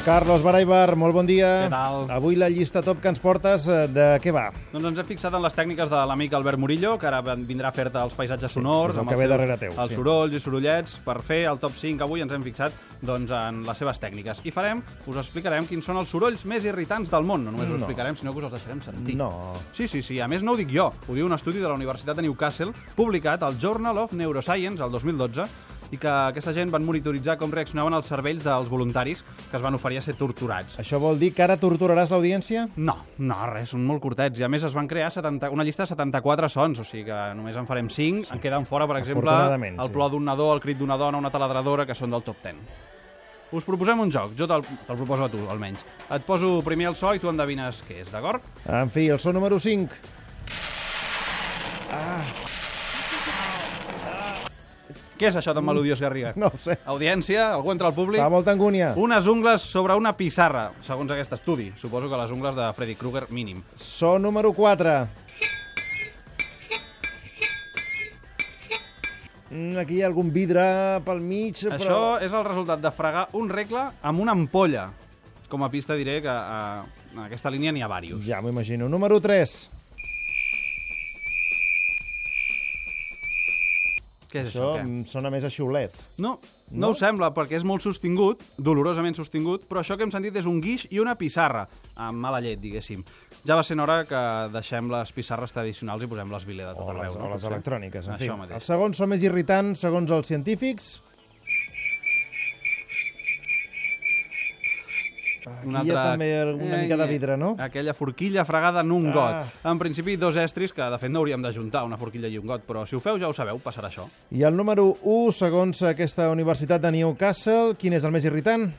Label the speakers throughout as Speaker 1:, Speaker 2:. Speaker 1: Carlos Baraibar, molt bon dia.
Speaker 2: Què tal?
Speaker 1: Avui la llista top que ens portes, eh, de què va?
Speaker 2: Doncs ens hem fixat en les tècniques de l'amic Albert Murillo, que ara ven- vindrà a fer-te els paisatges
Speaker 1: és
Speaker 2: sonors,
Speaker 1: el
Speaker 2: amb
Speaker 1: que
Speaker 2: els,
Speaker 1: ve
Speaker 2: seus,
Speaker 1: darrere teu,
Speaker 2: els
Speaker 1: sí.
Speaker 2: sorolls i sorollets. Per fer el top 5 avui ens hem fixat doncs, en les seves tècniques. I farem, us explicarem quins són els sorolls més irritants del món. No només
Speaker 1: No.
Speaker 2: us explicarem, sinó que us els deixarem sentir.
Speaker 1: No.
Speaker 2: Sí, sí, sí. A més, no ho dic jo. Ho diu un estudi de la Universitat de Newcastle, publicat al Journal of Neuroscience el 2012, i que aquesta gent van monitoritzar com reaccionaven els cervells dels voluntaris que es van oferir a ser torturats.
Speaker 1: Això vol dir que ara torturaràs l'audiència?
Speaker 2: No, no, res, són molt curtets. I a més es van crear 70, una llista de 74 sons, o sigui que només en farem 5. Sí. En queden fora, per exemple,
Speaker 1: Afortunadament,
Speaker 2: el
Speaker 1: sí.
Speaker 2: plor d'un nadó, el crit d'una dona, una taladradora, que són del top 10. Us proposem un joc, jo te'l te proposo a tu, almenys. Et poso primer el so i tu endevines què és, d'acord?
Speaker 1: En fi, el so número 5.
Speaker 2: Què és això tan melodiós, Garriga?
Speaker 1: Mm. No ho sé.
Speaker 2: Audiència, algú entra al públic?
Speaker 1: Fa molta angúnia.
Speaker 2: Unes ungles sobre una pissarra, segons aquest estudi. Suposo que les ungles de Freddy Krueger mínim.
Speaker 1: So número 4. Mm, Aquí hi ha algun vidre pel mig,
Speaker 2: Això
Speaker 1: però...
Speaker 2: és el resultat de fregar un regle amb una ampolla. Com a pista diré que eh, en aquesta línia n'hi ha diversos.
Speaker 1: Ja m'ho imagino. Número 3.
Speaker 2: Què
Speaker 1: Mm.
Speaker 2: és
Speaker 1: Això
Speaker 2: això? Què?
Speaker 1: em sona més a xiulet.
Speaker 2: No, no, no ho sembla, perquè és molt sostingut, dolorosament sostingut, però això que hem sentit és un guix i una pissarra, amb mala llet, diguéssim. Ja va sent hora que deixem les pissarres tradicionals i posem les viler de tot
Speaker 1: O les,
Speaker 2: arreu.
Speaker 1: o les
Speaker 2: Potser.
Speaker 1: electròniques, en
Speaker 2: Això
Speaker 1: fi.
Speaker 2: mateix.
Speaker 1: Els segons són més irritants, segons els científics. Aquí hi ha també una Eh, mica de vidre, no?
Speaker 2: Eh, Aquella forquilla fregada en un
Speaker 1: Ah.
Speaker 2: got. En principi, dos estris que, de fet, no hauríem d'ajuntar, una forquilla i un got, però si ho feu ja ho sabeu, passarà això.
Speaker 1: I el número 1, segons aquesta Universitat de Newcastle, quin és el més irritant?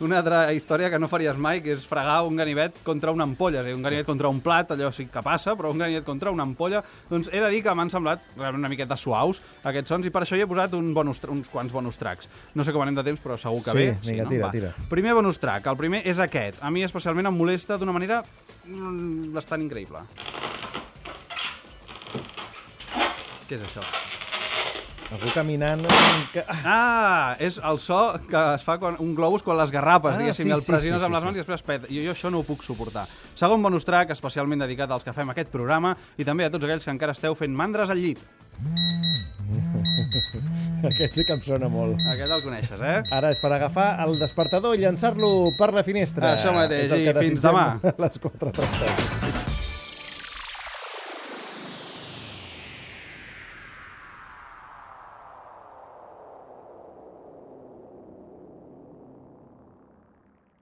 Speaker 2: Una altra història que no faries mai, que és fregar un ganivet contra una ampolla, és a dir, un ganivet contra un plat, allò sí que passa, però un ganivet contra una ampolla, doncs he de dir que m'han semblat realment una miqueta suaus aquests sons i per això hi he posat un bonus, uns quants bonus tracks. No sé com anem de temps, però segur
Speaker 1: Sí,
Speaker 2: que bé.
Speaker 1: vinga,
Speaker 2: no?
Speaker 1: tira,
Speaker 2: Va.
Speaker 1: tira.
Speaker 2: Primer bonus track, el primer és aquest. A mi especialment em molesta d'una manera mm, bastant increïble. Què és això?
Speaker 1: Algú caminant... Que... Ah,
Speaker 2: Ah, és el so que es fa quan, un globus quan les garrapes,
Speaker 1: Ah,
Speaker 2: ah, diguéssim,
Speaker 1: sí,
Speaker 2: i el
Speaker 1: sí,
Speaker 2: pressiones
Speaker 1: sí,
Speaker 2: amb
Speaker 1: sí,
Speaker 2: les mans i després pet. Jo, jo això no ho puc suportar. Segon bonus track, especialment dedicat als que fem aquest programa i també a tots aquells que encara esteu fent mandres al llit.
Speaker 1: aquest sí que em sona molt.
Speaker 2: Aquest el coneixes, eh?
Speaker 1: Ara és per agafar el despertador i llançar-lo per la finestra.
Speaker 2: Això mateix,
Speaker 1: és el
Speaker 2: i
Speaker 1: que
Speaker 2: fins
Speaker 1: desitgem
Speaker 2: demà.
Speaker 1: A les 4.30.